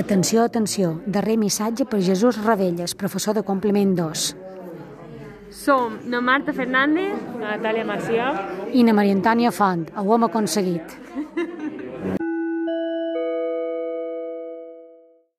Atenció, atenció, darrer missatge per Jesús Ravelles, professor de complement 2. Som na Marta Fernández, Natàlia Macià, Ina Maria Antònia Font, ho hem aconseguit.